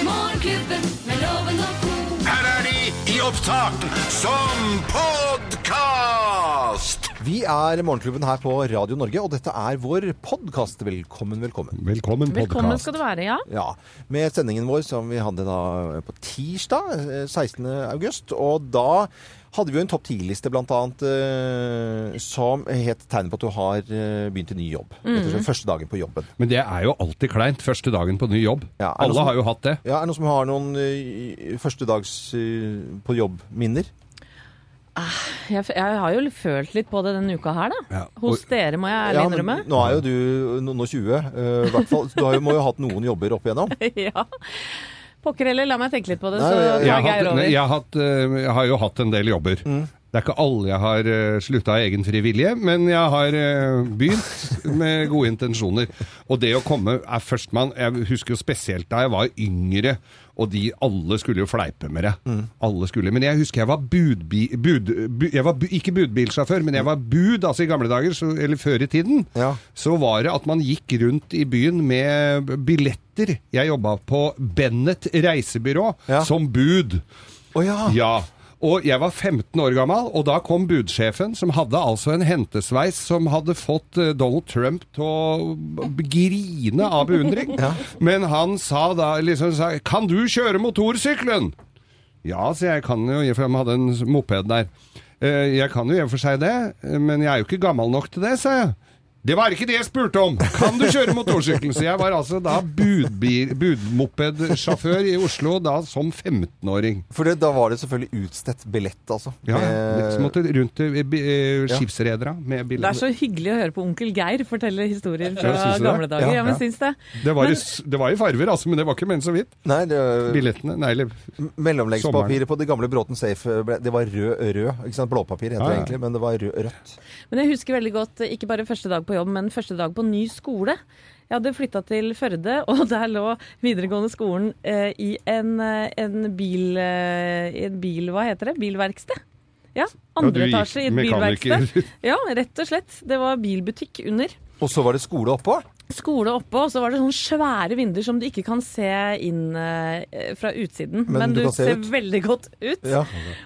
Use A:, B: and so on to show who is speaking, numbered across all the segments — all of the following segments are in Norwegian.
A: Morgenklubben med loven og ko.
B: Her er de i opptak som podkast!
C: Vi er Morgenklubben her på Radio Norge, og dette er vår podkast. Velkommen, velkommen.
D: Velkommen,
E: Velkommen
D: podcast.
E: skal du være, ja.
C: Ja, Med sendingen vår som vi hadde da på tirsdag eh, 16. august. Og da hadde vi jo en topp 10-liste blant annet eh, som het 'Tegn på at du har eh, begynt i ny jobb'. Rett og slett første dagen på jobben.
D: Men det er jo alltid kleint, første dagen på ny jobb.
C: Ja, er det
D: Alle
C: sånn?
D: har jo hatt det.
C: Ja, Er det noen som har noen eh, førstedags eh, på jobb-minner?
E: Jeg, jeg har jo følt litt på det denne uka her, da.
D: Ja.
E: Hos
D: Og-
E: dere, må jeg ærlig
C: Ja,
E: innrømme.
C: men nå er jo du noen og tjue, eh, i hvert fall. Du har jo, må jo ha hatt noen jobber opp igjennom.
E: ja. Pokker heller, la meg tenke litt på det,
C: Nei,
E: så
C: jeg-
E: tar
C: jeg
D: Jeg har,
E: jeg
D: hatt,
E: over.
D: nei, jeg, har hatt, eh, jeg har jo hatt en del jobber. Det er ikke alle jeg har eh, slutta av egen fri vilje, men jeg har eh, begynt med gode intensjoner. Og det å komme er førstemann. Jeg husker jo spesielt da jeg var yngre, og de alle skulle jo fleipe med det. Alle skulle. Men jeg husker jeg var budbi... Bud, bu, jeg var bu, ikke budbilsjåfør, men jeg var bud, altså i gamle dager, så, eller før i tiden.
C: Ja.
D: så var det at man gikk rundt i byen med billetter. Jeg jobba på Bennett reisebyrå
C: Ja.
D: som bud.
C: Å ja.
D: Ja. Og jeg var 15 år gammel, og da kom budsjefen, som hadde altså en hentesveis som hadde fått eh, Donald Trump til å b- grine av beundring. Men han sa da liksom sa, Kan du kjøre motorsykkelen? Ja, så jeg kan jo, for jeg hadde en moped der. «Eh, Jeg kan jo i og for seg det, men jeg er jo ikke gammel nok til det, sa jeg. Det var ikke det jeg spurte om! Kan du kjøre motorsykkelen? Så jeg var altså da budbil- budmopedsjåfør i Oslo da som 15-åring.
C: For det, da var det selvfølgelig utstedt billett, altså.
D: Ja, ja.
C: Med-
D: Så måtte rundt til eh, bi- eh, skipsredere med
E: Det er
D: biler.
E: så hyggelig å høre på onkel Geir fortelle historier fra
D: syns du det?
E: gamle dager.
C: Ja,
E: Ja, men
D: ja.
E: syns det.
D: Det var, i,
E: Men-
D: s- det var i farver, altså, men det var ikke ment så vidt.
C: Nei, det,
D: Billettene, nei, eller
C: Mellomleggspapiret på det gamle Bråten Safe, eh, ble- det var rød, rød ikke sant? Blåpapir heter
D: Ja,
C: det
D: ja.
C: egentlig, men det var rød, rødt.
E: Men jeg husker veldig godt eh, ikke bare første dag på jobb, men første dag på ny skole. Jeg hadde flytta til Førde, og der lå videregående skolen eh, i en, eh, en bil... Eh, en bil, hva heter det? Bilverksted. Ja, andre
D: du gikk
E: etasje i et
D: mekaniker.
E: bilverksted. Ja, rett og slett. Det var bilbutikk under.
C: Og så var det skole oppå.
E: Skole oppå, og så var det sånne svære vinduer som du ikke kan se inn eh, fra utsiden.
C: Men
E: Men,
C: du
E: du,
C: kan se
E: ser
C: ut.
E: veldig godt ut.
C: Ja.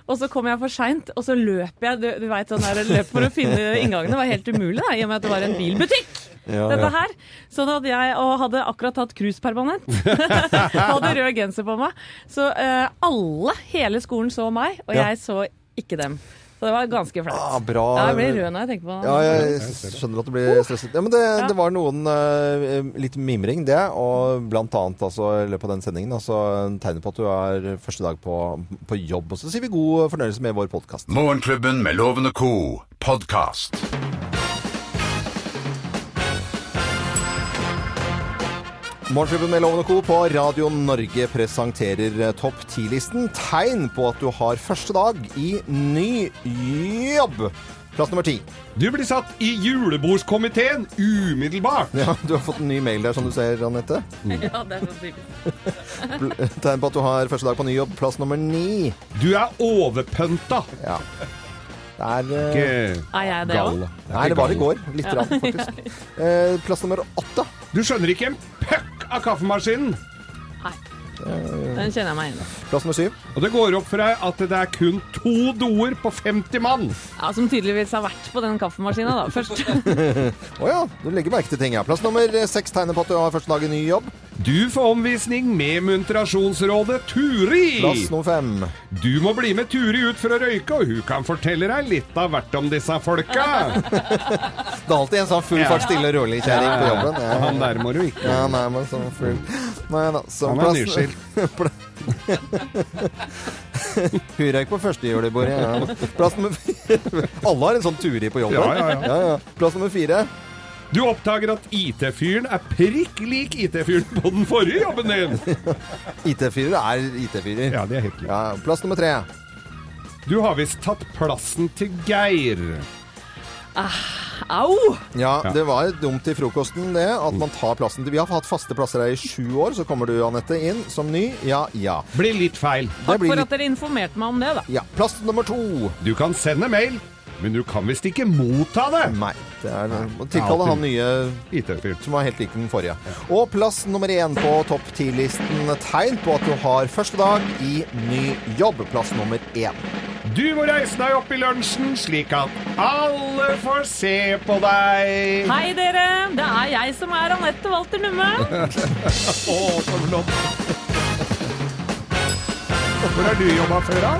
E: Og så kom jeg for seint, og så løp jeg. Du, du vet, sånn der, løp for å finne inngangen. Det var helt umulig, da, i og med at det var en bilbutikk. Dette her. Sånn at jeg og hadde akkurat tatt cruise permanent. hadde rød genser på meg. Så eh, alle, hele skolen så meg, og
C: Ja.
E: jeg så ikke dem. Så det var ganske flaut.
C: Ah, bra.
E: Ja, jeg blir rød når jeg tenker på det.
C: Ja, jeg skjønner at du blir stresset. Ja, men det, det var noen eh, litt mimring, det. Og blant annet altså, i løpet av den sendingen altså, tegnet på at du er første dag på, på jobb. Og så sier vi god fornøyelse med vår podkast.
B: Morgenklubben med Loven og co. podkast.
C: Morgenklubben med Loven og Co. på Radio Norge presenterer eh, topp 10-listen. Tegn på at du har første dag i ny jobb. Plass nummer ti.
D: Du blir satt i julebordskomiteen umiddelbart!
C: Ja, du har fått en ny mail der, som du ser, Anette.
E: Ja, det er så typisk.
C: Pl- Tegn på at du har første dag på ny jobb. Plass nummer ni.
D: Du er overpønta!
C: Ja. Det er eh,
D: Ikke
E: Er jeg det
D: gal.
E: òg?
C: Nei, det var i går. Litt, rann, faktisk. Eh, Plass nummer åtte.
D: Du skjønner ikke en puck av kaffemaskinen!
E: Den kjenner jeg meg igjen i.
C: Plass nummer syv.
D: Og det går opp for deg at det er kun to doer på 50 mann!
E: Ja, som tydeligvis har vært på den kaffemaskina, da. Først.
C: Å ja, du legger merke til ting, ja. Plass nummer eh, seks tegner på at du har første dag i ny jobb.
D: Du får omvisning med Muntrasjonsrådet Turi!
C: Plass nummer fem.
D: Du må bli med Turi ut for å røyke, og hun kan fortelle deg litt av hvert om disse folka.
C: Det er alltid en sånn full fart stille og rolig kjerring på jobben. Ja.
D: Han der må du ikke.
C: Ja, sånn nei, men så full Nei da. Så
D: Han er nyskilt.
C: Hun røyk på første julebordet. Ja. Plass nummer fire. Alle har en sånn turi på jobben.
D: Ja, ja, ja.
C: Plass nummer fire.
D: Du oppdager at IT-fyren er prikk lik IT-fyren på den forrige jobben din.
C: IT-fyrer er IT-fyrer.
D: Ja, det er helt likt.
C: Ja, plass nummer tre.
D: Du har visst tatt plassen til Geir.
E: Au!
C: Ja,
D: Ja.
C: det var dumt til frokosten, det. At man tar plassen til Vi har hatt faste plasser her i sju år. Så kommer du, Anette, inn som ny. Ja, ja.
D: Blir litt feil.
C: Det
E: Takk
C: blir
E: for
C: litt
E: at dere informerte meg om det, da.
C: ja. Plass nummer to.
D: Du kan sende mail. Men du kan visst ikke motta det!
C: Nei. Det er å tilkalle han nye
D: IT-fyr.
C: som var helt lik den forrige. Og plass nummer én på topp ti-listen. Tegn på at du har første dag i ny jobb. Plass nummer én.
D: Du må reise deg opp i lunsjen slik at alle får se på deg.
E: Hei, dere! Det er jeg som er Anette Walter Numme.
D: Å, så flott. Hvor har du jobba før, da?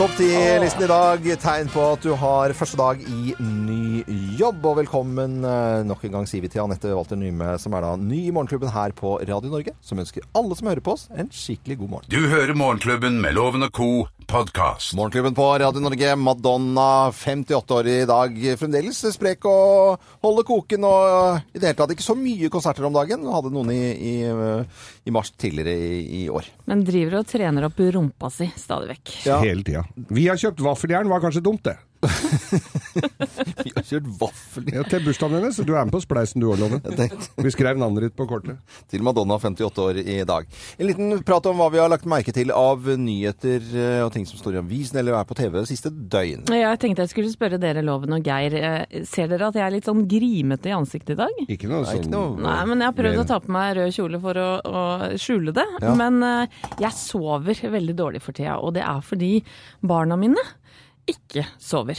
C: Topp ti-listen i dag. Tegn på at du har første dag i ny jobb. Og velkommen eh, nok en gang sier vi til Anette Walter Nyme, som er da ny i Morgenklubben her på Radio Norge, som ønsker alle som hører på oss, en skikkelig god morgen.
B: Du hører Morgenklubben med Loven og Co. podkast.
C: Morgenklubben på Radio Norge, Madonna, 58 år i dag. Fremdeles sprek og holde koken og i det hele tatt ikke så mye konserter om dagen. Hun hadde noen i, i, eh, i mars tidligere i, i år.
E: Men driver og trener opp rumpa si stadig vekk.
C: Ja.
D: Hele tida. Vi har kjøpt vaffeljern, var kanskje dumt, det.
C: Vi har kjørt vaffel
D: Ja, til bursdagen hennes. Du er med på spleisen, du òg, Loven. Vi skrev navnet ditt på kortet.
C: til Madonna, 58 år i dag. En liten prat om hva vi har lagt merke til av nyheter eh, og ting som står i avisen eller er på TV det siste døgn.
E: Jeg tenkte jeg skulle spørre dere, Loven og Geir. eh, Ser dere at jeg er litt sånn grimete i ansiktet i dag?
D: Ikke noe
C: Det er ikke
D: sånn
C: noe...
E: Nei, men jeg har prøvd
D: Mer.
E: å ta på meg rød kjole for å, å skjule det.
C: Ja.
E: Men eh, jeg sover veldig dårlig for tida, og det er fordi barna mine ikke sover.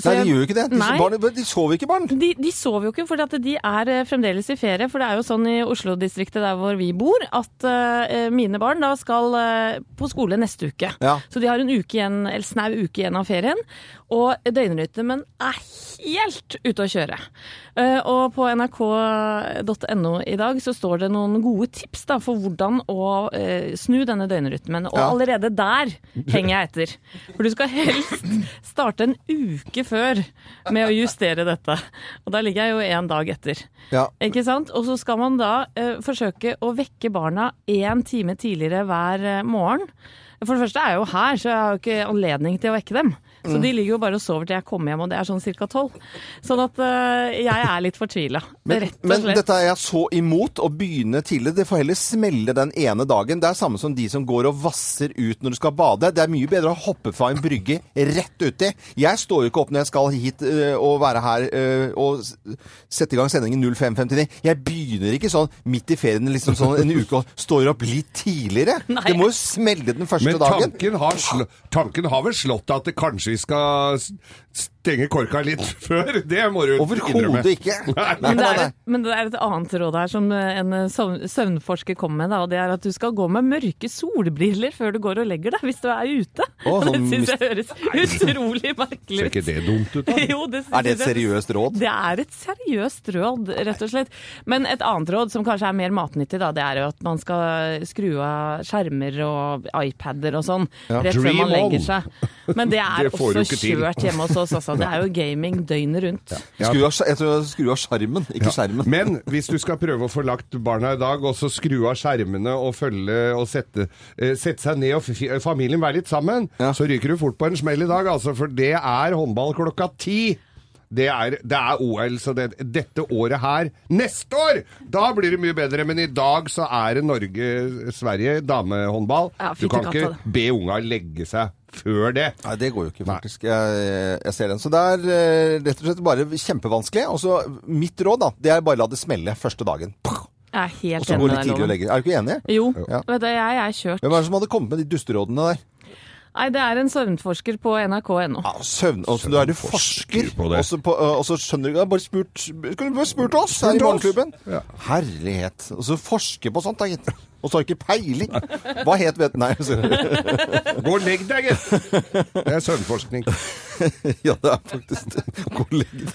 E: Så
C: Nei, de
E: jeg-
C: gjør jo ikke det. De,
E: Nei.
C: barn, de sover ikke, barn.
E: De, de sover jo ikke, for de er eh, fremdeles i ferie. For det er jo sånn i Oslo-distriktet der hvor vi bor, at eh, mine barn da skal eh, på skole neste uke.
C: Ja.
E: Så de har en uke igjen, eller snau uke igjen av ferien. Og døgnrytmen er helt ute å kjøre. Eh, Og på nrk.no i dag så står det noen gode tips da, for hvordan å eh, snu denne døgnrytmen. Og
C: Ja.
E: allerede der henger jeg etter. For du skal helst starte en uke før med å justere dette. Og da ligger jeg jo en dag etter.
C: Ja.
E: Ikke sant? Og så skal man da eh, forsøke å vekke barna én time tidligere hver eh, morgen. For det første er jeg jo her, så jeg har jo ikke anledning til å vekke dem. Så
C: Mm.
E: de ligger jo bare og sover til jeg kommer hjem, og det er sånn ca. tolv. Sånn at eh, jeg er litt fortvila,
C: Men,
E: rett og
C: men
E: slett.
C: dette er jeg så imot, å begynne tidlig. Det får heller smelle den ene dagen. Det er samme som de som går og vasser ut når du skal bade. Det er mye bedre å hoppe fra en brygge rett uti. Jeg står jo ikke opp når jeg skal hit øh, og være her øh, og s- sette i gang sendingen 05.59. Jeg begynner ikke sånn midt i ferien, liksom sånn en uke og står opp litt tidligere.
E: Nei.
C: Det må jo smelle den første
D: Men
C: dagen.
D: tanken har, sl tanken har vel slått at det kanskje vi skal s- stenge korka litt før? Det må du innrømme.
C: Overhodet ikke. Nei, nei,
E: Men det, er
C: nei.
E: et, men det er et annet råd her som eh, en eh, søvn- søvnforsker kom med, da, og det er at du skal gå med mørke solbriller før du går og legger deg, hvis du er ute.
C: Å,
E: det
C: sånn
E: syns jeg høres utrolig
D: Ser
E: merkelig
D: ikke
E: ut.
D: det dumt ut, da?
E: Jo,
C: Er
E: det
C: det
E: synes
C: et
E: jeg.
C: seriøst råd?
E: Det er et seriøst råd, rett og slett. Men et annet råd som kanskje er mer matnyttig, da, det er jo at man skal skru av skjermer og iPader og sånn rett før
D: Dream
E: man legger
D: on.
E: seg. Men det er
D: Det får du
E: også
D: ikke til.
E: kjørt hjemme hos oss, altså. Det er jo gaming døgnet rundt.
D: Ja.
C: Skru av, jeg tror jeg skru av skjermen, ikke skjermen.
D: Men hvis du skal prøve å få lagt barna i dag, og så skru av skjermene og følge og sette, eh, sette seg ned og fi- familien være litt sammen,
C: Ja.
D: så ryker du fort på en smell i dag, altså. For det er håndball klokka ti. Det er, det er OL, så det, dette året her Neste år! Da blir det mye bedre, men i dag så er det Norge-Sverige damehåndball.
E: Ja,
D: du kan
E: fytti
D: ikke
E: katta,
D: be unga legge seg før det.
C: Nei, det går jo ikke, faktisk. Jeg, jeg ser den. Så det er eh, rett og slett bare kjempevanskelig. Og så mitt råd, da, det er bare la det smelle første dagen. Puh!
E: Jeg er
C: Og
E: helt
C: så gå
E: enig med
C: litt
E: deg,
C: tidlig og
E: Loven.
C: legge deg. Er du ikke enig?
E: Jo,
C: Ja.
E: vet du, jeg er kjørt.
C: Hvem er det som hadde kommet med de dusterådene der?
E: Nei, det er en søvnforsker på nrk.no.
C: Ja, søvn. Og så du er jo
D: Søvnforsker
C: forsker,
D: på det.
C: og så, på, eh, og så skjønner du ikke Bare spurt Skulle du bare spurt oss her
D: Spurt
C: i
D: oss.
C: Morgenklubben?
D: Ja.
C: Herlighet. Og så forske på sånt, da, gitt. Og så har du ikke peiling. Hva het vet Nei, så,
D: Gå og legg deg, gitt! Det er søvnforskning.
C: ja, det er faktisk det. God legg.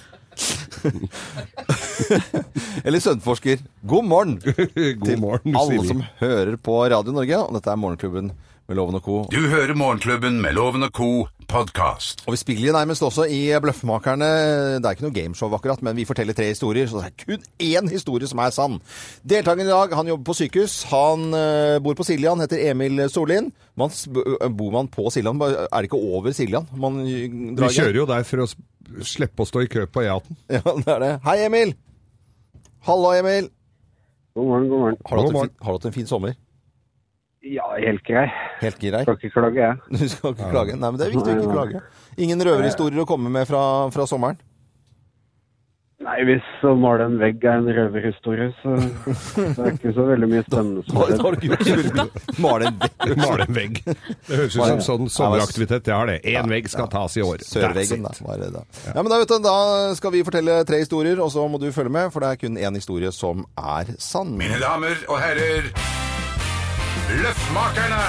C: Eller søvnforsker. God morgen.
D: God morgen,
C: til alle
D: Siri.
C: som hører på Radio Norge. Og dette er Morgenklubben med Loven og Co.
B: Du hører Morgenklubben med Loven og Co. podkast.
C: Og vi spiller jo nærmest også i Bløffmakerne. Det er ikke noe gameshow akkurat, men vi forteller tre historier, så det er kun én historie som er sann. Deltakeren i dag, han jobber på sykehus. Han eh, bor på Siljan, heter Emil Sollien. Man, s- bor man på Siljan? Er det ikke over Siljan? Man eh,
D: Vi kjører jo der for å s- slippe å stå i kø på E18.
C: Ja, det er det. Hei, Emil! Hallo, Emil!
F: God morgen, god morgen.
C: Har du,
D: God
C: hatt en
D: morgen.
C: fin, har du hatt en fin sommer?
F: Ja, helt grei.
C: Helt grei.
F: Skal ikke klage, jeg.
C: Du skal ikke klage. Nei, men det er viktig å ikke klage. Ingen røverhistorier å komme med fra, fra sommeren?
F: Nei, hvis å male en vegg er en røverhistorie, så det er ikke så veldig mye spennende som skjer.
C: har du ikke gjort Male en vegg.
D: Male en vegg. Det høres ut som sånn sommeraktivitet. Jeg har det. Én vegg skal tas i år.
C: Sørveggen, da.
D: That's it.
C: Var det da. Ja, men da, vet du, da skal vi fortelle tre historier, og så må du følge med, for det er kun én historie som er sann.
B: Mine damer og herrer, Løffmakerne!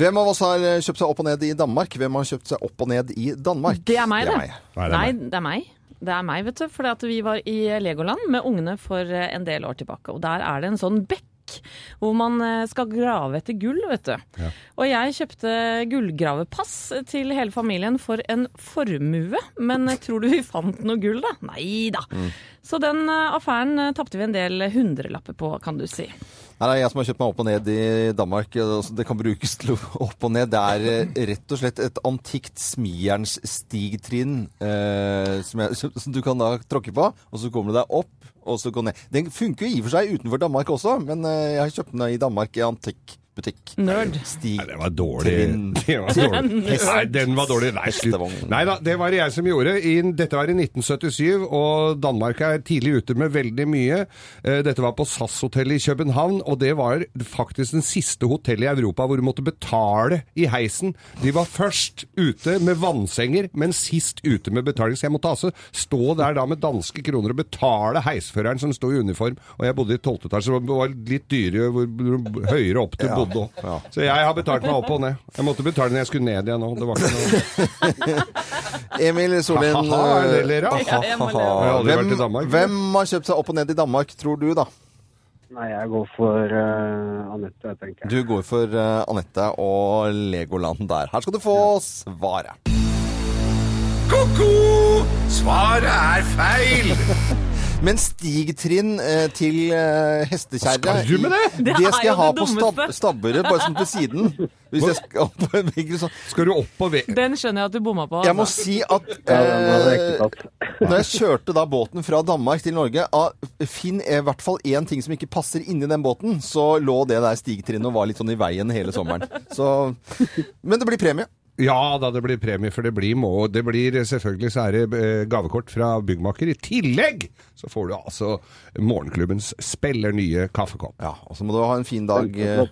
C: Hvem av oss har kjøpt seg opp og ned i Danmark? Hvem har kjøpt seg opp og ned i Danmark?
E: Det er meg, det.
D: Nei, det er
E: Nei,
D: meg.
E: det er meg. Det er meg, vet du. Fordi at vi var i Legoland med ungene for eh, en del år tilbake. Og der er det en sånn bekk. Hvor man eh, skal grave etter gull, vet du. Og jeg kjøpte gullgravepass til hele familien for en formue. Men eh, tror du vi fant noe gull, da? Nei da.
D: Mm.
E: Så den eh, affæren eh, tapte vi en del hundrelapper på, kan du si.
C: Nei, det er jeg som har kjøpt meg opp og ned i Danmark. Altså, Det kan brukes til å opp og ned. Det er eh, rett og slett et antikt smijernstigtrinn eh, som, jeg- som som du kan da tråkke på, og så kommer du deg opp, og så går du ned. Den funker jo i og for seg utenfor Danmark også, men eh, jeg har kjøpt den i Danmark i antikk butikk.
E: Nerd.
C: Stig.
D: Nei, det var dårlig.
C: Trinn.
D: Det var dårlig.
C: Hest.
D: Nei, den var dårlig. Nei, slutt.
C: Hestevogn.
D: Nei da, det var det jeg som gjorde. I, dette var i 1977, og Danmark er tidlig ute med veldig mye. Eh, Dette var på SAS-hotellet i København, og det var faktisk den siste hotellet i Europa hvor du måtte betale i heisen. De var først ute med vannsenger, men sist ute med betaling. Så jeg måtte altså stå der da med danske kroner og betale heisføreren som sto i uniform. Og jeg bodde i 12. etasje, så det var litt dyrere hvor hvor høyere opp du bodde òg.
C: ja.
D: Så jeg har betalt meg opp og ned. Jeg måtte betale når jeg skulle ned igjen òg. Det var ikke noe
C: Emil Solin.
D: Ha-ha, er det dere?
C: eh,
E: Ja, jeg må le.
C: ha-ha.
D: Jeg har aldri vært i
C: Hvem,
D: Danmark.
C: hvem har kjøpt seg opp og ned i Danmark, tror du, da?
F: Nei, jeg går for eh, Anette, tenker jeg.
C: Du går for eh, Anette og Legoland der. Her skal du få svaret.
B: Ko-ko! Svaret er feil!
C: Men stigtrinn eh, til eh, hestekjerre
D: Skal du med det?
E: Det
C: Det,
E: er
C: skal
E: jo
C: jeg ha
E: det
C: på stab
E: dummeste.
C: stabburet, bare sånn på siden. Hvis jeg skal opp på en vegg sånn.
D: Skal du opp og ved?
E: Den skjønner jeg at du bomma på.
C: Jeg må
E: altså.
C: si at
F: Ja, den hadde jeg
C: eh,
F: ikke tatt.
C: når jeg kjørte da båten fra Danmark til Norge ah, Finn er i hvert fall én ting som ikke passer inni den båten, så lå det der stigtrinnet og var litt sånn i veien hele sommeren. Så, men det blir premie.
D: Ja da, det blir premie, for det blir må. Det blir selvfølgelig så er det eh, gavekort fra byggmaker. I tillegg så får du altså morgenklubbens speller nye kaffekopp.
C: Ja, og så må du ha en fin dag eh,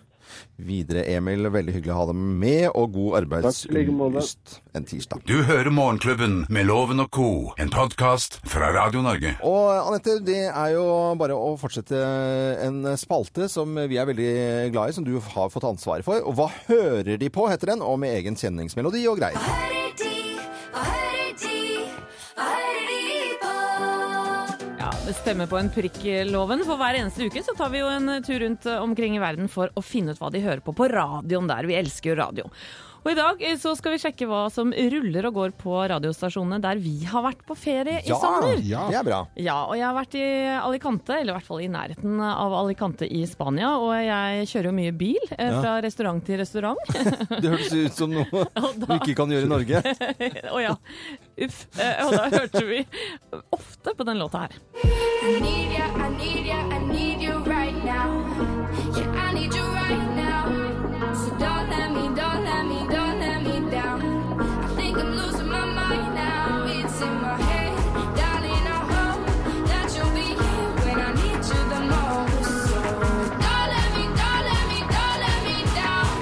C: videre, Emil. Veldig hyggelig å ha deg med, og god
F: Takk, i like måte.
C: arbeidslyst en tirsdag.
B: Du hører Morgenklubben med Loven og Co., en podkast fra Radio Norge.
C: Og Anette, det er jo bare å fortsette en spalte som vi er veldig glad i, som du har fått ansvaret for. Og Hva hører de på, heter den, og med egen kjenningsmelodi og greier.
A: hører de, hva hører de, hva hører de på?
E: Ja, det stemmer på en prikk-loven. For hver eneste uke så tar vi jo en tur rundt eh, omkring i verden for å finne ut hva de hører på på radioen der. Vi elsker jo radio. Og i dag eh, så skal vi sjekke hva som ruller og går på radiostasjonene der vi har vært på ferie i sommer.
D: ja.
C: det er bra.
E: Ja, og jeg har vært i Alicante, eller i hvert fall i nærheten av Alicante i Spania. Og jeg kjører jo mye bil eh, fra restaurant til restaurant.
C: Det hørtes ut som noe du
E: da-
C: ikke kan gjøre i Norge.
E: Å ja, uff. Eh, Og da hørte vi ofte på den låta her.
A: I need you, I need you, I need you right now. Yeah, I need you right now. So don't let me, don't let me, don't let me down. I think I'm losing my mind now. It's in my head, darling. I hope that you'll be here when I need you the most. So don't let me, don't let me, don't let me down.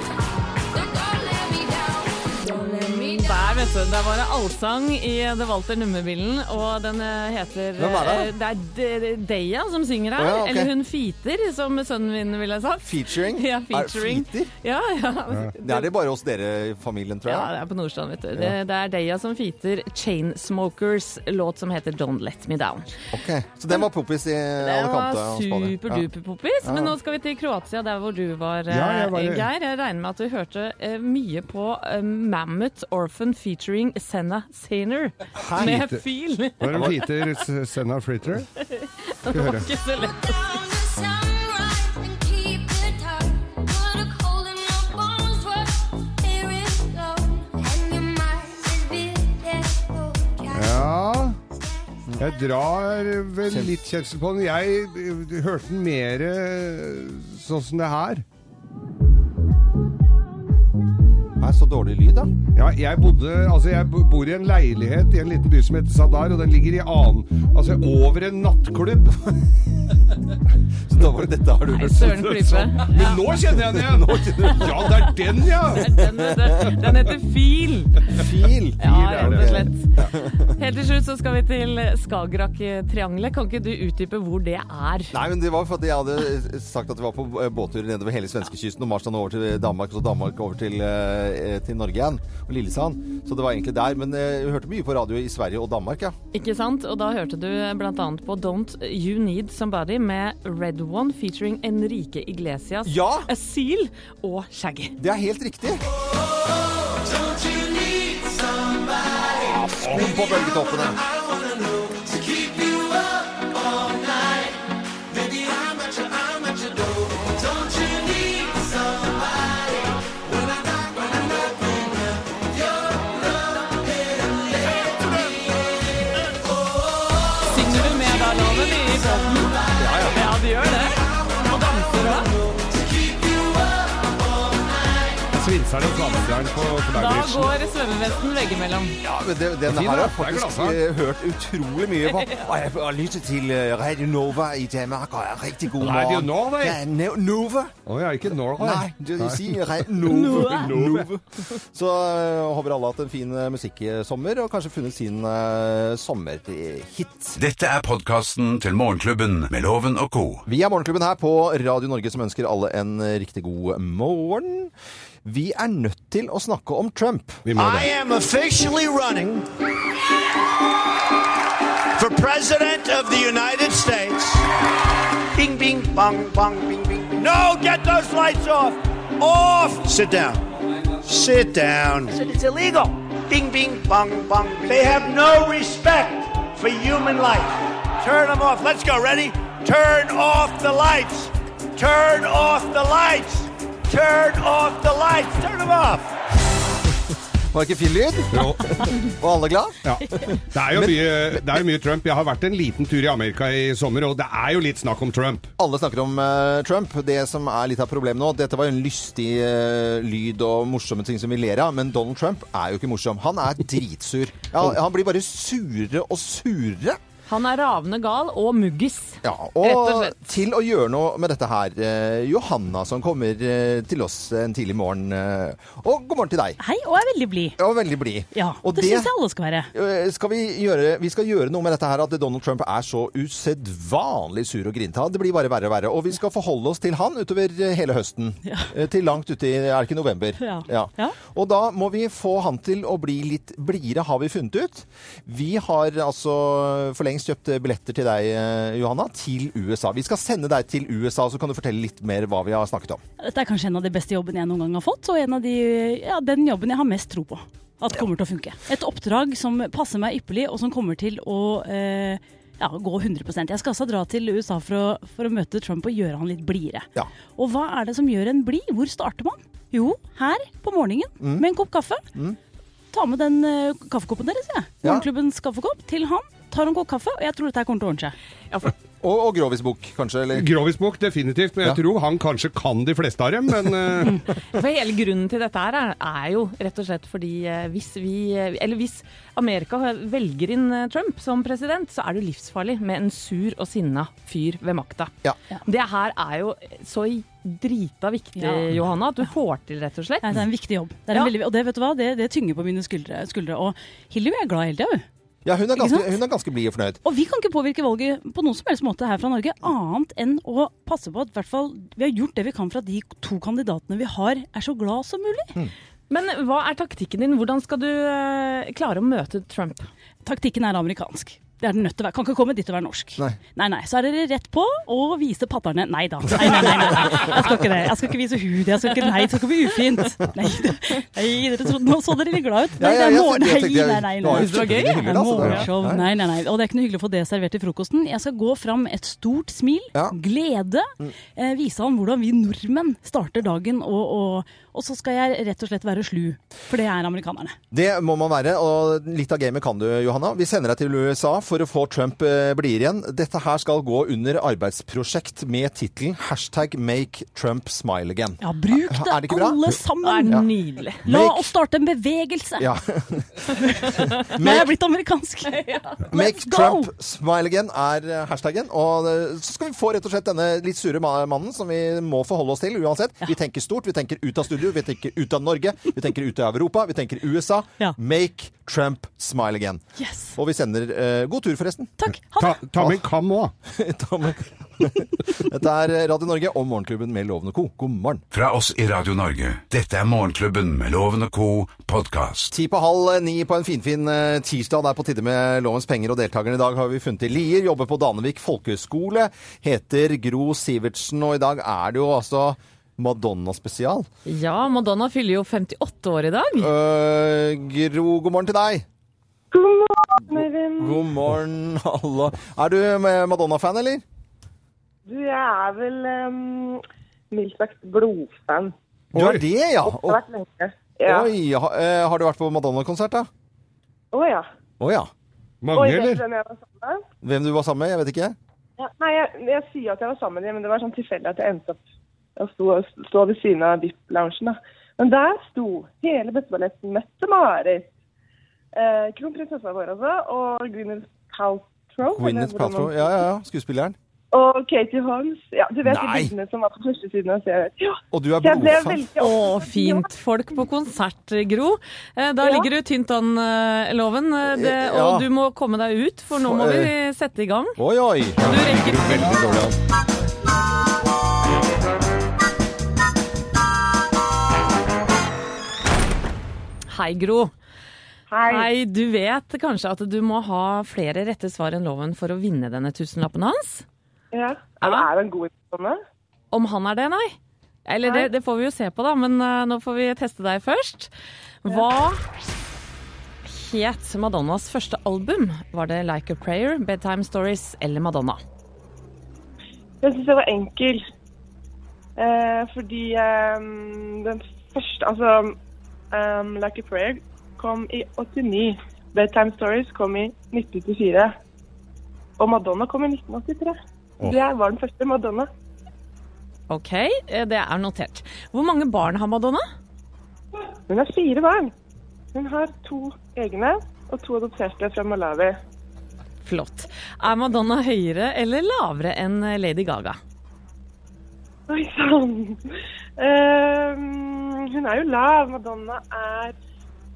A: Don't, don't let me down. Don't let me down.
E: Der, vet du. Der var det allsang i The Walter Nummebilen, og den eh, heter
C: Hvem er det?
E: eh, Det er De- De- Deya som synger her.
C: Å ja, ok.
E: Eller hun Fiter, som sønnen min ville ha sagt.
C: Featuring?
E: Ja,
C: Er
E: featuring.
C: Feater?
E: Ja, ja.
C: Det er det bare hos dere i familien, tror
E: Ja,
C: jeg.
E: det er på Nordstrand, vet du. Det, det er Deya som feater Chainsmokers låt som heter Don't Let Me Down.
C: Ok, Så den var poppis i
E: Det
C: alle
E: var
C: kanter av Spania. Ja.
E: superduper-poppis. Men nå skal vi til Kroatia, der hvor du var,
D: Ja, jeg
E: eh,
D: var-
E: Geir. Jeg regner med at du hørte eh, mye på eh, Mammoth Orphan featuring Senna Saner med
D: Lite.
E: fil.
D: Nå er det Peter S- Senna Fritter. Skal vi høre.
E: Ikke så lett.
A: Down the sunrise and keep the dark. Put a cold in my bones, what here is gone, and your mind is beautiful.
D: Ja Jeg drar vel litt kjensel på den. Jeg eh, hørte den mer eh, sånn som det her.
C: er så dårlig lyd, da?
D: Ja, jeg bodde, altså jeg bo- bor i en leilighet i en liten by som heter Sadar, og den ligger i annen, altså over en nattklubb.
C: Så da var det dette har du
E: Nei,
C: hørt.
E: søren klype.
D: Men nå kjenner jeg den igjen! Nå kjenner jeg, ja, det er den, ja!
E: Den heter, den heter Fil.
C: Fil!
E: Ja,
D: er
E: rett og
D: det.
E: slett. Helt til slutt så skal vi til Skagerrak-triangelet. Kan ikke du utdype hvor det er?
C: Nei, men det var fordi jeg hadde sagt at vi var på eh, båttur nedover hele svenskekysten, og Marstrand over til Danmark, og så Danmark over til, eh, til Norge igjen, og Lillesand. Så det var egentlig der. Men eh, vi hørte mye på radio i Sverige og Danmark, ja.
E: Ikke sant? Og da hørte du bl.a. på Don't You Need Somebody med Red One featuring Enrique Iglesias,
C: Ja!
E: Asyl og Shaggy.
C: Det er helt riktig! Opp på bølgetoppene.
E: Synger du med da, Loven, i båten? Ja, ja. ja, du gjør det. Og danser da.
D: Svinseren og svanseren på
E: Da
D: Kneibergsen.
E: går svømmevesten veggimellom.
C: Ja, men det, den
D: fin,
C: her har
D: da.
C: jeg faktisk
D: Det er glasseren.
C: eh, hørt utrolig mye på. Og jeg har lyttet til eh, Radio Nova i Danmark, og jeg er rigtig god morgen.
D: Radio Nova, ja.
C: Ja, Ne- Nova?
D: Å ja, ikke Norway.
C: Nei, du sier re- Nove. Nove. Så øh, håper alle har hatt en fin øh, musikksommer, og kanskje funnet sin øh, sommerhit.
B: Dette er podkasten til Morgenklubben med Loven og co.
C: Vi er Morgenklubben her på Radio Norge, som ønsker alle en øh, riktig god morgen. Vi er nødt til å snakke om Trump.
D: Vi må
G: I
D: det.
G: am officially running for President of the United States. Bing, bing, bong, bong, bing, bing. bing. No, get those lights off! Off! Sit down. Sit down. It's illegal. Bing, bing, bong, bong. They have no respect for human life. Turn them off. Let's go. Ready? Turn off the lights. Turn off the lights. Turn off the lights. Turn them off.
C: Var det ikke fin lyd?
D: Jo.
C: Var alle glad?
D: Ja. Det er jo mye, det er jo mye Trump. Jeg har vært en liten tur i Amerika i sommer, og det er jo litt snakk om Trump.
C: Alle snakker om eh, Trump. Det som er litt av problemet nå Dette var jo en lystig eh, lyd og morsomme ting som vi ler av, men Donald Trump er jo ikke morsom. Han er dritsur. Ja, han blir bare surere og surere.
E: Han er ravende gal og muggis.
C: Ja,
E: Rett og
C: og
E: slett.
C: til å gjøre noe med dette her, eh, Johanna som kommer eh, til oss en tidlig morgen. eh, og god morgen til deg.
H: Hei, og er veldig blid.
C: Og veldig blid.
H: Ja,
C: og
H: det,
C: det,
H: syns jeg alle skal være.
C: eh, skal vi, gjøre, vi skal gjøre noe med dette her, at Donald Trump er så usedvanlig sur og grinta. Det blir bare verre og verre. Og vi skal forholde oss til han utover hele høsten. Eh, Til langt uti Er det ikke november?
H: Ja. Ja.
C: Og da må vi få han til å bli litt blidere, har vi funnet ut. Vi har altså for lengst kjøpt billetter til deg, eh, Johanna, til USA. Vi skal sende deg til USA, så kan du fortelle litt mer hva vi har snakket om.
H: Dette er kanskje en av de beste jobbene jeg noen gang har fått, og en av de, ja, den jobben jeg har mest tro på at kommer til å funke. Et oppdrag som passer meg ypperlig, og som kommer til å eh, ja, gå 100 Jeg skal altså dra til USA for å, for å møte Trump og gjøre han litt blidere.
C: Ja.
H: Og hva er det som gjør en blid? Hvor starter man? Jo, her på morgenen
C: Mm.
H: med en kopp kaffe. Ta med den eh, kaffekoppen deres, jeg.
C: Ja.
H: Morgenklubbens kaffekopp til han. Tar en kopp kaffe, og jeg tror dette her kommer til å ordne seg.
C: Og, og Grovis bok, kanskje? Eller?
D: Grovis-bok, definitivt, men jeg
C: Ja.
D: tror han kanskje kan de fleste av dem, men eh,
E: For hele grunnen til dette her er, er jo rett og slett fordi eh, hvis vi eh, Eller hvis Amerika velger inn eh, Trump som president, så er det jo livsfarlig med en sur og sinna fyr ved makta.
C: Ja.
E: Det her er jo så drita viktig,
H: Ja.
E: Johanna, at du får til, rett og slett.
H: Nei, det er
C: Mm.
H: en viktig jobb. Det er en
E: Ja.
H: veldig, og det vet du hva, det, det tynger på mine skuldre. skuldre. Og Hillevi er glad hele tida, hun.
C: Ja, hun er ganske,
H: sant?
C: hun er ganske blid og fornøyd.
H: Og vi kan ikke påvirke valget på noen som helst måte her fra Norge, annet enn å passe på at i hvert fall, vi har gjort det vi kan for at de to kandidatene vi har, er så glad som mulig.
C: Mm.
E: Men hva er taktikken din? Hvordan skal du eh, klare å møte Trump?
H: Taktikken er amerikansk. Det er den nødt til å være. Kan ikke komme dit og være norsk.
C: Nei.
H: nei, nei. Så er dere rett på å vise patterne. Nei da. Nei, nei, nei, nei. Jeg skal ikke det. Jeg skal ikke vise hud. Jeg skal ikke, nei, det skal ikke bli ufint. Nei, nei dere trodde, nå så dere litt glad ut.
C: Ja,
H: Nei,
C: ja,
H: det er
C: jeg-
H: morgen.
C: jeg
H: Nei,
C: tenkte jeg-
H: nei, nei.
C: det var
H: nei.
C: jo skikkelig hyggelig,
H: Det er
C: altså, det var-
H: morgenshow.
C: ja.
H: Nei, nei, nei. Og det er ikke noe hyggelig å få det servert til frokosten. Jeg skal gå fram et stort smil,
C: Ja. Mm.
H: glede, eh, vise han hvordan vi nordmenn starter dagen, og, og, og så skal jeg rett og slett være slu. For det er amerikanerne.
C: Det må man være, og litt av gamet kan du, Johanna. Vi sender deg til USA for for å få Trump eh, blir igjen. Dette her skal gå under arbeidsprosjekt med tittelen 'Hashtag make Trump smile again'.
I: Ja, bruk det,
C: Er det ikke bra?
I: alle
E: Det er
I: sammen!
E: nydelig.
I: La
C: Make-
I: oss starte en bevegelse!
C: Ja.
I: Nei, jeg
C: make,
I: er blitt amerikansk.
C: make
I: Let's go!
C: Trump smile again er eh, hashtagen. Og eh, så skal vi få rett og slett denne litt sure ma- mannen som vi må forholde oss til uansett. Vi tenker stort, vi tenker ut av studio, vi tenker ut av Norge, vi tenker ut av Europa, vi tenker USA.
I: Ja.
C: Make Trump smile again.
I: Yes.
C: Og vi sender eh, God tur, forresten.
I: Takk. Ha
D: Ta,
I: det.
D: ta med en kam òg.
C: Ta med- Dette er Radio Norge og Morgenklubben med Loven og Co. God morgen.
B: Fra oss i Radio Norge. Dette er Morgenklubben med Loven og co. podkast.
C: Ti på halv ni på en finfin eh, tirsdag. Det er på tide med Lovens penger, og deltakerne i dag har vi funnet i Lier. Jobber på Danevik folkehøgskole. Heter Gro Sivertsen, og i dag er det jo altså Madonna-spesial.
E: Ja, Madonna fyller jo 58 år i dag.
C: Eh, Gro, god morgen til deg.
H: God morgen, Øyvind.
C: God morgen, alle. Er du eh, Madonna-fan, eller?
H: Du, jeg er vel um, mildt sagt blodfan.
C: Du
D: Oi.
C: er det, ja.
H: Det har
C: Og,
H: vært lenge. Ja. Oi.
C: oi, ha, eh, har du vært på Madonna-konsert, da?
H: ja.
C: Å ja.
H: Oi,
D: Mange,
H: vet
D: eller?
H: du hvem jeg var sammen med?
C: Hvem du var sammen med? Jeg vet ikke.
H: Ja. Nei, jeg, jeg sier at jeg var sammen med dem, men det var sånn tilfeldig at jeg endte opp jeg sto, sto ved siden av VIP-loungen. da. Men der sto hele besteballetten Mette-Marit. Eh, Kronprinsessa vår, altså. Og Gwyneth Paltrow. eller
C: Gwyneth
H: hvordan man-
C: Paltrow. Ja, ja, ja. Skuespilleren.
H: Og Katie Holmes. Ja, du vet de
C: Nei.
H: bildene som var på første siden av serien. Ja,
C: Og du er
H: så jeg ble
C: blodfan.
H: veldig
E: Å,
H: opptatt.
E: fint folk på konsert, Gro. Eh, Da
H: Ja.
E: ligger du tynt an, eh, Loven. eh, Det,
C: Ja.
E: og du må komme deg ut, for nå må
C: For,
E: vi sette i gang.
C: Oi, oi.
E: Du rekker
D: Veldig dårlig. altså.
E: Hei, Gro.
H: Hei.
E: Hei, du vet kanskje at du må ha flere rette svar enn Loven for å vinne denne tusenlappen hans?
H: Ja. Er det er det en god sånn?
E: Om han er det, nei. Eller det, det får vi jo se på, da, men eh, nå får vi teste deg først. Hva het Madonnas første album? Var det Like a Prayer, Bedtime Stories eller Madonna?
H: Jeg syns jeg var enkel. Eh, fordi ehm, den første Altså, ehm, Like a Prayer kom i 89. Bedtime Stories kom i 1994. Og Madonna kom i 1983. Det var den første Madonna.
E: OK, eh, det er notert. Hvor mange barn har Madonna?
H: Hun har fire barn. Hun har to egne og to adopterte fra Malawi.
E: Flott. Er Madonna høyere eller lavere enn eh, Lady Gaga?
H: Oi sann. Ehm, hun er jo lav. Madonna er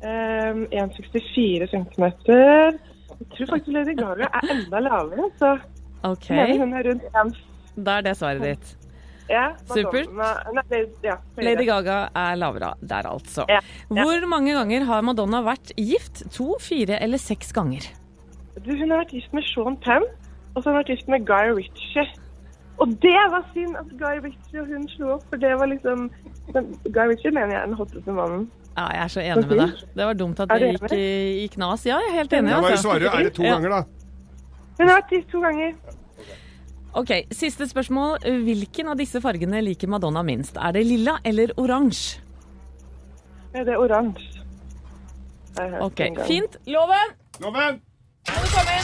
H: ehm, 1,64 cm. Jeg tror faktisk Lady Gaga er enda lavere. Så
E: OK,
H: jeg mener hun er rundt 1
E: da er det svaret ditt.
H: ja,
E: Supert.
H: Madonna- Nei, det- ja, høyere.
E: Lady Gaga er lavere der, altså.
H: Ja, ja.
E: Hvor mange ganger har Madonna vært gift? To, fire eller seks ganger?
H: Du, hun har vært gift med Sean Penn, og så har hun vært gift med Guy Ritchie. Og det var synd at Guy Ritchie og hun slo opp, for det var liksom den, Guy Ritchie mener jeg er den hotteste mannen.
E: Ja, jeg er så enig med deg. Det var dumt at
H: Er du
E: det
H: enig?
E: gikk i, i knas. Ja, jeg er helt enig.
D: Da må vi
E: Altså.
D: svare. Er det to
E: Ja.
D: ganger, da?
H: Hun har vært gift to ganger.
E: Ok, Siste spørsmål. Hvilken av disse fargene liker Madonna minst? Er det lilla eller oransje?
H: Ja, det er oransje. Det har jeg hørt
E: Ok,
H: en gang.
E: Fint. Loven!
D: Loven!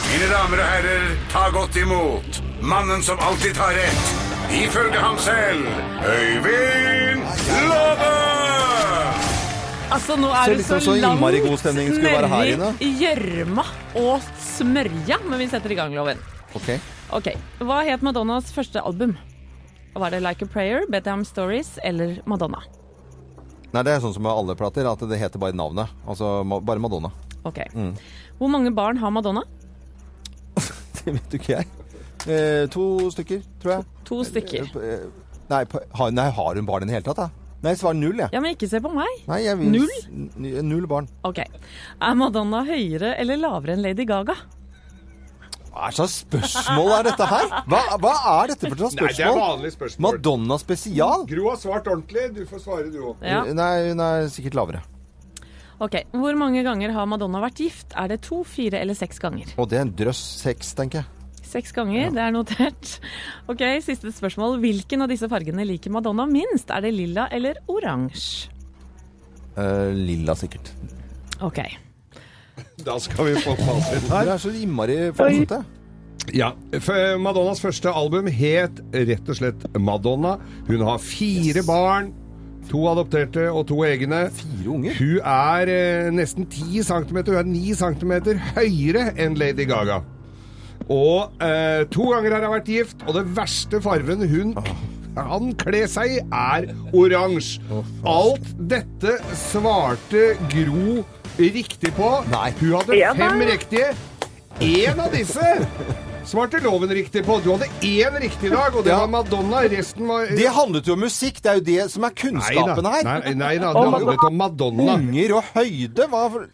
B: Mine damer og herrer, ta godt imot mannen som alltid tar rett. Ifølge ham selv Øyvind Låve!
E: Altså, nå
C: Så
E: er du
C: liksom
E: så
C: så
E: langt
C: innmari god stemning skulle være her
E: nedi
C: inne.
E: i gjørma og smørja, men vi setter i gang, Loven.
C: Ok.
E: Ok, Hva het Madonnas første album? Var det Like a Prayer, Bedtime Stories eller Madonna?
C: Nei, det er sånn som med alle plater, at det heter bare navnet. Altså ma- bare Madonna.
E: Ok.
C: Mm.
E: Hvor mange barn har Madonna?
C: Det vet jo ikke jeg. Eh, to stykker, tror jeg.
E: To stykker.
C: Eh, Nei, på, har, nei, har hun barn i det hele tatt, da? Nei, svar null, jeg.
E: Ja, men ikke se på meg.
C: Nei, jeg vil,
E: Null?
C: N- Null barn.
E: Ok. Er Madonna høyere eller lavere enn Lady Gaga?
C: Hva er slags spørsmål er dette her? Hva, hva er dette for slags
D: Nei, det er
C: spørsmål?
D: vanlig spørsmål.
C: Madonna spesial?
D: Gro har svart ordentlig. Du får svare, du òg.
E: Ja.
C: Nei, hun er sikkert lavere.
E: Ok. Hvor mange ganger har Madonna vært gift? Er det to, fire eller seks ganger?
C: Og det er en drøss seks, tenker jeg.
E: Seks ganger, det er notert. Ok, Siste spørsmål. Hvilken av disse fargene liker Madonna minst? Er det lilla eller oransje?
C: Eh, lilla, sikkert.
E: Ok.
D: Da skal vi få fasiten.
C: Dere er så innmari flåsete.
D: Ja. f- Madonnas første album het rett og slett Madonna. Hun har fire barn. To adopterte og to egne.
C: Fire unger.
D: Hun er eh, nesten 10 cm, hun er 9 cm høyere enn Lady Gaga. Og eh, to ganger har hun vært gift, og det verste farven hun kan kle seg i, er oransje. Alt dette svarte Gro riktig på.
C: Nei.
D: Hun hadde fem riktige. Én av disse svarte loven riktig på. Du hadde én riktig i dag, og det
C: Ja.
D: var Madonna. Resten var
C: Det handlet jo om musikk. Det er jo det som er
D: da.
C: kunnskapen
D: Nei,
C: her. Mm.
D: nei da, det handlet om Madonna.
C: Unger og høyde. Hva for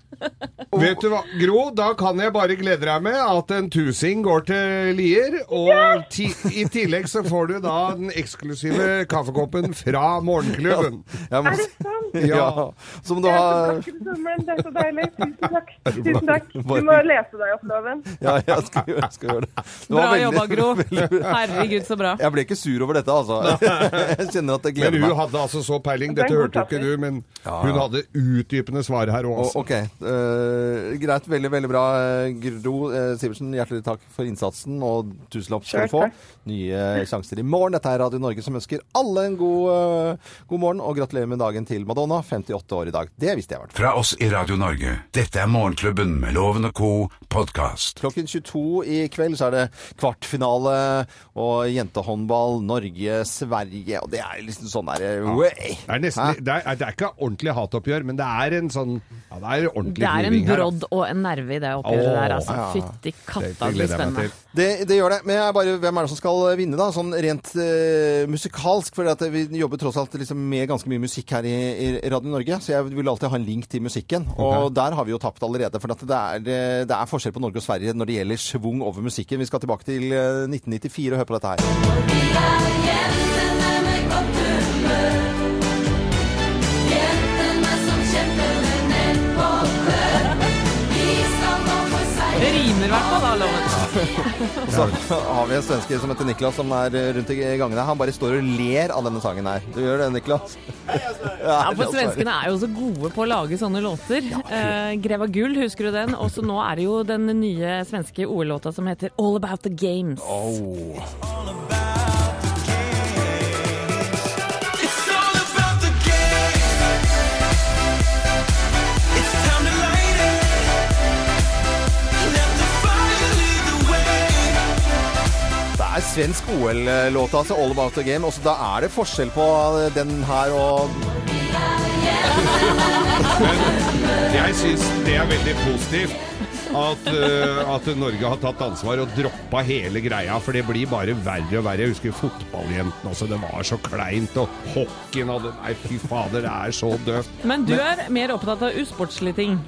D: Vet du hva, Gro, da kan jeg bare glede deg med at en tusing går til Lier, og ti i tillegg så får du da den eksklusive kaffekoppen fra morgenklubben.
C: Jeg må-
J: Er det sant?
C: Ja. Som du har
J: Tusen takk, Tommel. Det er så deilig. Tusen takk. Tusen takk. Du må lese deg opp loven.
C: Ja, jeg skal, gjøre- jeg skal gjøre det. det
E: Bra
C: var veldig-
E: jobba, Gro. Herregud, så bra.
C: Jeg ble ikke sur over dette, altså. Jeg kjenner at det
D: Men
C: gleder
D: hun
C: meg.
D: hadde altså så peiling, dette hørte jo ikke du, men hun hadde utdypende svar her
C: Og-
D: òg.
C: OK. eh, greit. Veldig, veldig bra, eh, Gro eh, Sivertsen. Hjertelig takk for innsatsen, og tusenlapp skal du få. Nye sjanser i morgen. Dette er Radio Norge som ønsker alle en god, eh, god morgen, og gratulerer med dagen til Madonna. 58 år i dag. Det visste jeg i hvert fall.
B: Fra oss i Radio Norge, dette er Morgenklubben med Loven og Co. podkast.
C: Klokken 22 i kveld så er det kvartfinale og jentehåndball Norge-Sverige. Og det er liksom sånn der way.
D: Det er,
C: Hæ?
D: nesten, det, er, det er ikke ordentlig hatoppgjør, men det er en sånn ja, Det er ordentlig
E: Det er en
D: kniving her, altså.
E: brodd og en nerve i det oppgjøret
D: Åh,
E: der, altså.
C: ja.
E: Fytti katta,
D: Det
E: det blir
D: gleder jeg meg
E: spennende.
D: til.
C: Det, det gjør det. Men jeg er bare, hvem er det som skal vinne, da? Sånn rent eh, musikalsk. For at eh, vi jobber tross alt liksom med ganske mye musikk her i, i Radio Norge. Så jeg vil alltid ha en link til musikken. Og der har vi jo tapt allerede. For at det, er, eh, det er forskjell på Norge og Sverige når det gjelder schwung over musikken. Vi skal tilbake til eh, 1994 og høre på dette her.
E: Det rimer i hvert fall, da, loven.
C: Og så har vi en svenske som heter Niklas, som er eh, rundt i gangene. Han bare står og ler av denne sangen her. Du gjør det, Niklas?
E: Ja, for
C: altså-
E: svenskene er jo så gode på å lage sånne låter. Eh, Greva gull, husker du den? Og så nå er det jo den nye svenske OL-låta som heter All About The Games.
C: Det er svensk OL-låt, altså. All about the game. Også da er det forskjell på eh, den her og
D: Jeg syns det er veldig positivt at, eh, at Norge har tatt ansvar og droppa hele greia, for det blir bare verre og verre. Jeg husker fotballjentene også, det var så kleint, og hockeyen hadde Nei, fy fader, det er så døvt.
E: Men du er mer opptatt av usportslige ting.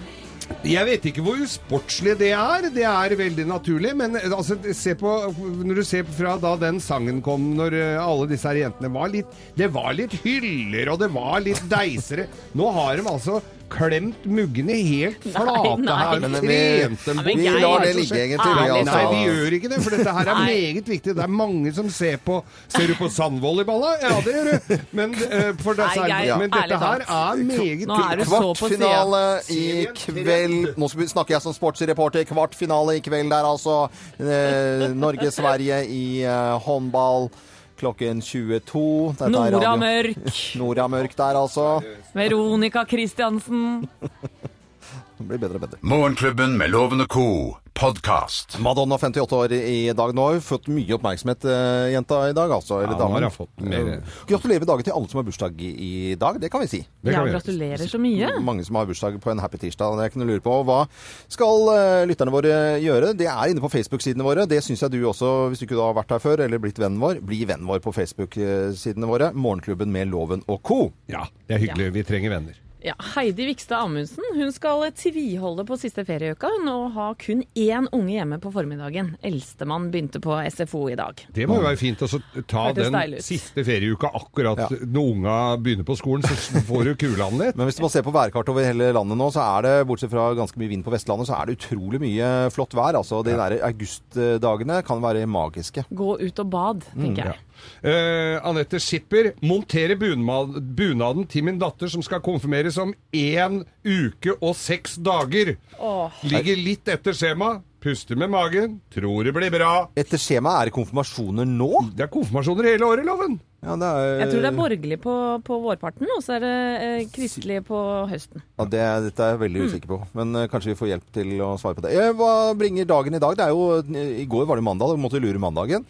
D: Jeg vet ikke hvor usportslig det er, det er veldig naturlig, men eh, altså, se på Når du ser fra da den sangen kom, når eh, alle disse her jentene var litt Det var litt hyller, og det var litt deisere. Nå har de altså klemt muggene helt flate
E: nei.
D: her.
C: Men
D: Trent
C: vi,
D: dem
E: men
C: vi
E: Geir,
C: lar det
E: altså,
C: ligge,
E: så-
C: egentlig. vi,
E: Ærlig
C: altså.
D: Nei, vi gjør ikke det, for dette her er
E: Nei.
D: meget viktig. Det er mange som ser på Ser du på sandvolleyball, da? Ja, det gjør du. Men, eh, for det,
E: Nei, Geir,
D: men dette
E: ærlig
D: her
E: talt.
D: er meget
E: Nå er du så på siden.
C: Kvartfinale i kveld. Nå snakker jeg som sportsreporter. Kvartfinale i kveld der, altså. Eh, Norge-Sverige i eh, håndball klokken 22. Dette er
E: Nora
C: radio-
E: Mørk,
C: Nora Mørk der, altså.
E: Veronica Christiansen.
C: Det blir bedre og bedre.
B: Morgenklubben med Loven og Co. podkast.
C: Madonna 58 år i dag. Nå har hun fått mye oppmerksomhet, eh, jenta, i dag. altså.
D: Ja, nå
C: Eller damen. Eh,
D: har hun fått mer.
C: Gratulerer med dagen til alle som har bursdag i i dag. Det kan vi si.
D: Det
E: Ja,
D: kan vi gjøre.
E: gratulerer så mye.
C: Mange som har bursdag på en happy tirsdag. Jeg kunne lure på hva skal eh, lytterne våre gjøre? Det er inne på Facebook-sidene våre. Det syns jeg du også, hvis du ikke da har vært her før eller blitt vennen vår, bli vennen vår på Facebook-sidene våre. Morgenklubben med Loven og co.
D: Ja, det er hyggelig. Vi trenger venner.
E: Ja, Heidi Vikstad Amundsen hun skal tviholde på siste ferieuka hun, og ha kun én unge hjemme på formiddagen. Eldstemann begynte på SFO i dag.
D: Det må jo være fint å så ta
E: Hørtes
D: den
E: deilig ut.
D: siste ferieuka akkurat
C: Ja.
D: når unga begynner på skolen, så får du kulene litt.
C: Men hvis man ser på værkartet over hele landet nå, så er det, bortsett fra ganske mye vind på Vestlandet, så er det utrolig mye flott vær. Altså, de der augustdagene kan være magiske.
D: Mm,
E: Gå ut og bad, tenker jeg.
K: Eh, Anette Schipper monterer bunma- bunaden til min datter som skal konfirmeres om én uke og seks dager. Ligger litt etter skjema. Puster med magen. Tror det blir bra.
C: Etter skjemaet er det konfirmasjoner nå?
K: Det er konfirmasjoner hele året, Loven.
C: Ja, det er,
E: Mm. Jeg
D: Eh,
E: tror det er borgerlig på, på vårparten, og så er det eh, kristelig på høsten.
C: Ja, det, dette er jeg
E: Mm.
C: veldig usikker på, men eh, kanskje vi får hjelp til å svare på det. Eh, hva bringer dagen i dag? Det er jo, eh, I går var det mandag, da måtte vi lure mandagen.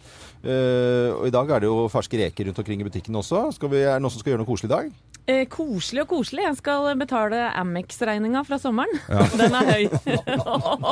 C: Eh, og I dag er det jo ferske reker rundt omkring i butikken også. Skal vi, er det noen som skal gjøre noe koselig i dag?
E: Eh, koselig og koselig. Jeg skal betale Amex-regninga fra sommeren. Den er høy.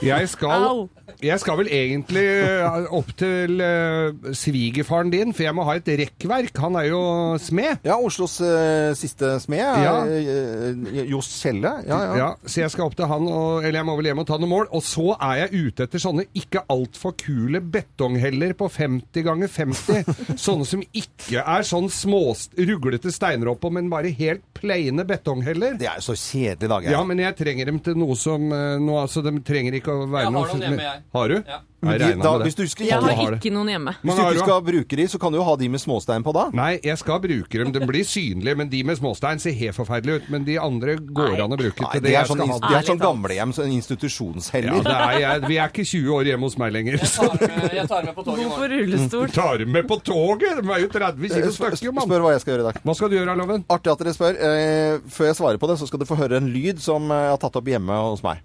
K: Jeg skal,
E: Au.
K: jeg skal vel egentlig eh, opp til eh, svigerfaren din, for jeg må ha et rekkverk. Han er jo smed.
C: Ja, Oslos eh, siste smed,
K: Ja.
C: er, eh, Johs Kjelle. Ja, ja.
K: Ja, så jeg skal opp til han, og, eller jeg må vel hjem og ta noen mål. Og så er jeg ute etter sånne ikke altfor kule betongheller på 50 ganger 50. sånne som ikke er sånn små, ruglete steiner oppå, men bare helt plaine betongheller.
C: Det er jo så kjedelig i dag. jeg.
K: Ja, men jeg trenger dem til noe som eh, noe, altså, De trenger ikke å være
D: Jeg har
K: noe
D: noen hjemme, jeg.
K: Har du?
D: Ja.
K: Jeg
C: De-
K: regnet
C: da,
K: med det.
C: hvis du ikke,
E: Jeg
K: Alle
E: har
K: har det.
E: ikke noen hjemme.
C: hvis du
K: Mange har du,
C: ikke
K: da?
C: skal bruke de, så kan du jo ha de med småstein på da.
K: Nei, jeg skal bruke dem. De blir synlige, men de med småstein ser helt forferdelige ut. Men de andre går an å bruke til
C: Nei,
K: det,
C: det er
K: jeg
C: sånn,
K: skal ha.
C: det er
E: Ærlig
C: sånn
E: talt.
C: gamlehjem, sånn
K: Ja,
C: institusjonsheller.
K: det er, jeg, vi er ikke 20 år hjemme hos meg lenger. Så
D: tar med, jeg tar med på toget i
E: God
D: morgen.
E: for rullestol.
K: tar dem med på toget! De er jo 30 kilo
C: Spør,
K: stykker, mann.
C: spør hva jeg skal gjøre i dag.
K: Hva skal du gjøre, Loven?
C: Artig at dere spør. Eh, før jeg svarer på det, så skal du få høre en lyd som eh, jeg har tatt opp hjemme hos meg.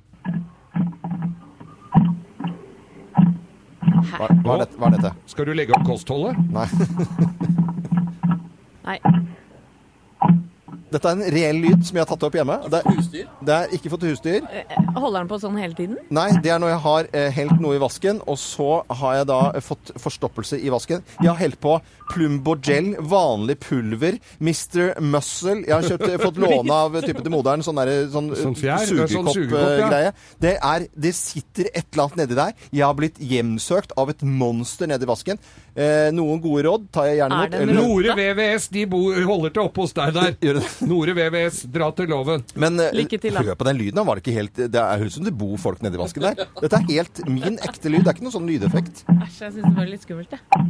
D: Mm,
C: Hva, hva, er, dette, hva er dette?
K: Skal du legge opp kostholdet?
C: Nei.
E: Nei.
C: Dette er en reell lyd som jeg har tatt opp hjemme. Det, er-
D: Husdyr.
C: det er ikke for til husdyr.
E: Holder den på sånn hele tiden?
C: Nei, det er når jeg har eh, helt noe i vasken, og så har jeg da eh, fått forstoppelse i vasken. Jeg har helt på Plumbo Gel, vanlig pulver, Mr. Muscle. Jeg har kjøpt, fått låne av typen til moderen, sånn, der, sånn, eh,
K: Sånn fjær, ja, sånn sugekopp, ja.
C: sugekopp-greie. det, er- det sitter et eller annet nedi der. Jeg har blitt hjemsøkt av et monster nedi vasken. Eh, noen gode råd tar jeg gjerne
E: Er
C: imot.
E: det en
C: eller-
K: Nore VVS, de bor, holder til oppe hos deg
C: Gjør
K: der.
C: det.
K: Nore VVS, dra til Loven.
C: Men eh,
E: Lykke til, da.
C: hør på den lyden. da. Var det ikke helt, det er høres ut som det bor folk nedi vasken der. Dette er helt min ekte lyd. Det er ikke noen sånn lydeffekt.
E: Æsj, jeg syns det var litt skummelt, jeg.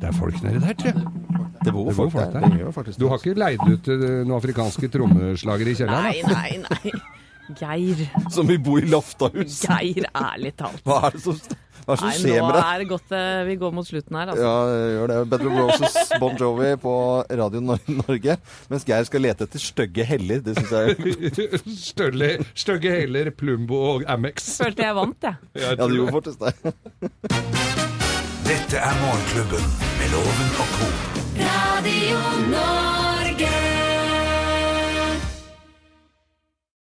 K: Det er folk nedi der, tror jeg.
C: Det bor
K: Det bor
C: folk,
K: folk
C: der.
K: der.
C: Det gjør faktisk
K: Du
C: det. altså.
K: har ikke leid ut eh, noen afrikanske trommeslagere i kjelleren?
E: Nei, nei, nei. Geir.
C: Som vil bo i Loftahus.
E: Geir, ærlig talt.
C: Hva er det som, hva er det som
E: Nei, nå
C: skjer med deg?
E: er det godt eh, vi går mot slutten her, altså.
C: Ja, gjør det. Better Roses, Bon Jovi på Radio Nor Norge. Mens Geir skal lete etter stygge heller. Det syns jeg
K: da? Stølle- Stygge heller, Plumbo og Amex.
E: Følte jeg vant, jeg.
K: Jeg
C: Ja,
K: tror
C: det
K: det.
C: gjorde fortest det.
B: Dette er Morgenklubben med Loven og co.
A: Radio Norge.